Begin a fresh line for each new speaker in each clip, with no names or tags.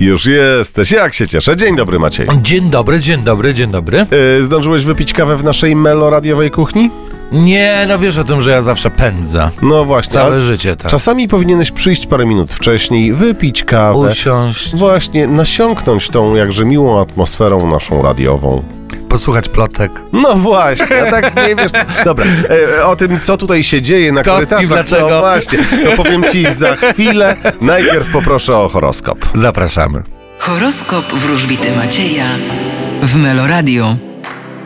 Już jesteś, jak się cieszę. Dzień dobry Maciej.
Dzień dobry, dzień dobry, dzień dobry.
E, zdążyłeś wypić kawę w naszej meloradiowej kuchni?
Nie, no wiesz o tym, że ja zawsze pędzę.
No właśnie.
Całe
ale
życie tak.
Czasami powinieneś przyjść parę minut wcześniej, wypić kawę.
Usiąść,
Właśnie, nasiąknąć tą jakże miłą atmosferą naszą radiową.
posłuchać plotek.
No właśnie, a tak nie wiesz. Dobra, e, o tym, co tutaj się dzieje na
Kto z kim,
korytarzach.
dlaczego?
No właśnie, to powiem ci za chwilę. Najpierw poproszę o horoskop.
Zapraszamy.
Horoskop wróżbity Macieja w Meloradio.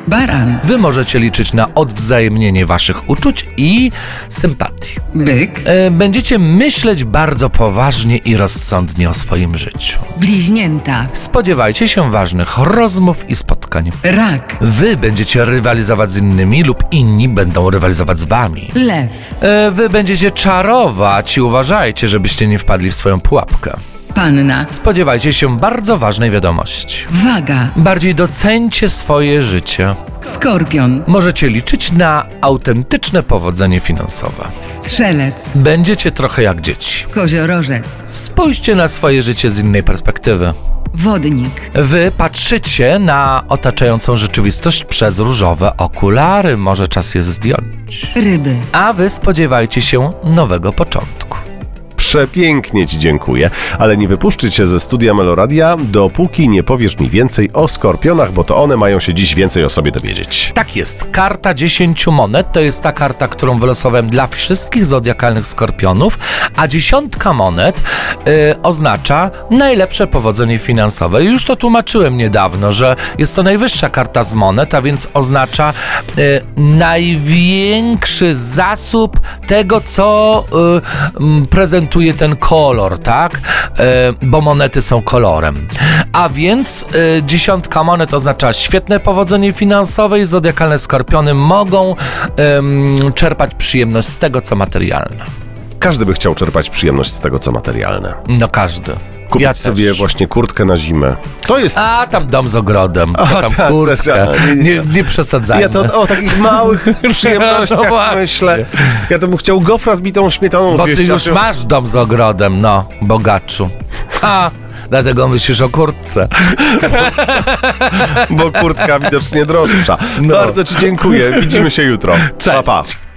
Baran,
Wy możecie liczyć na odwzajemnienie waszych uczuć i sympatii.
byk,
E, Będziecie myśleć bardzo poważnie i rozsądnie o swoim życiu.
bliźnięta,
Spodziewajcie się ważnych rozmów i spotkań.
rak,
Wy będziecie rywalizować z innymi lub inni będą rywalizować z wami.
lew,
E, Wy będziecie czarować i uważajcie, żebyście nie wpadli w swoją pułapkę.
panna,
Spodziewajcie się bardzo ważnej wiadomości.
waga,
Bardziej docencie swoje życie.
skorpion,
Możecie liczyć na autentyczne powodzenie finansowe.
strzelec,
Będziecie trochę jak dzieci.
koziorożec,
Spójrzcie na swoje życie z innej perspektywy.
wodnik,
Wy patrzycie na otaczającą rzeczywistość przez różowe okulary. Może czas je zdjąć.
ryby.
A wy spodziewajcie się nowego początku.
Przepięknie Ci dziękuję, ale nie wypuszczę Cię ze studia Meloradia, dopóki nie powiesz mi więcej o skorpionach, bo to one mają się dziś więcej o sobie dowiedzieć.
Tak jest. Karta 10 monet to jest ta karta, którą wylosowałem dla wszystkich zodiakalnych skorpionów, a dziesiątka monet y, oznacza najlepsze powodzenie finansowe. Już to tłumaczyłem niedawno, że jest to najwyższa karta z monet, a więc oznacza y, największy zasób tego, co y, m, prezentuje ten kolor, tak? Y, bo monety są kolorem. A więc y, dziesiątka monet oznacza świetne powodzenie finansowe i zodiakalne skorpiony mogą ym, czerpać przyjemność z tego, co materialne.
Każdy by chciał czerpać przyjemność z tego, co materialne.
No każdy.
Kupić
ja
sobie
też.
właśnie kurtkę na zimę. To jest...
A tam dom z ogrodem, to tam
tak,
kurczę.
też, a, nie, nie.
Nie, nie przesadzajmy.
Ja to o takich małych
No
przyjemnościach
właśnie.
myślę. Ja to bym chciał gofra z bitą śmietaną
Bo ty
zjeść, a
już masz dom z ogrodem, no, bogaczu. Ha! Dlatego myślisz o kurtce.
No. Bo kurtka widocznie droższa. Bardzo Ci dziękuję. Widzimy się jutro.
Cześć.
Pa, pa.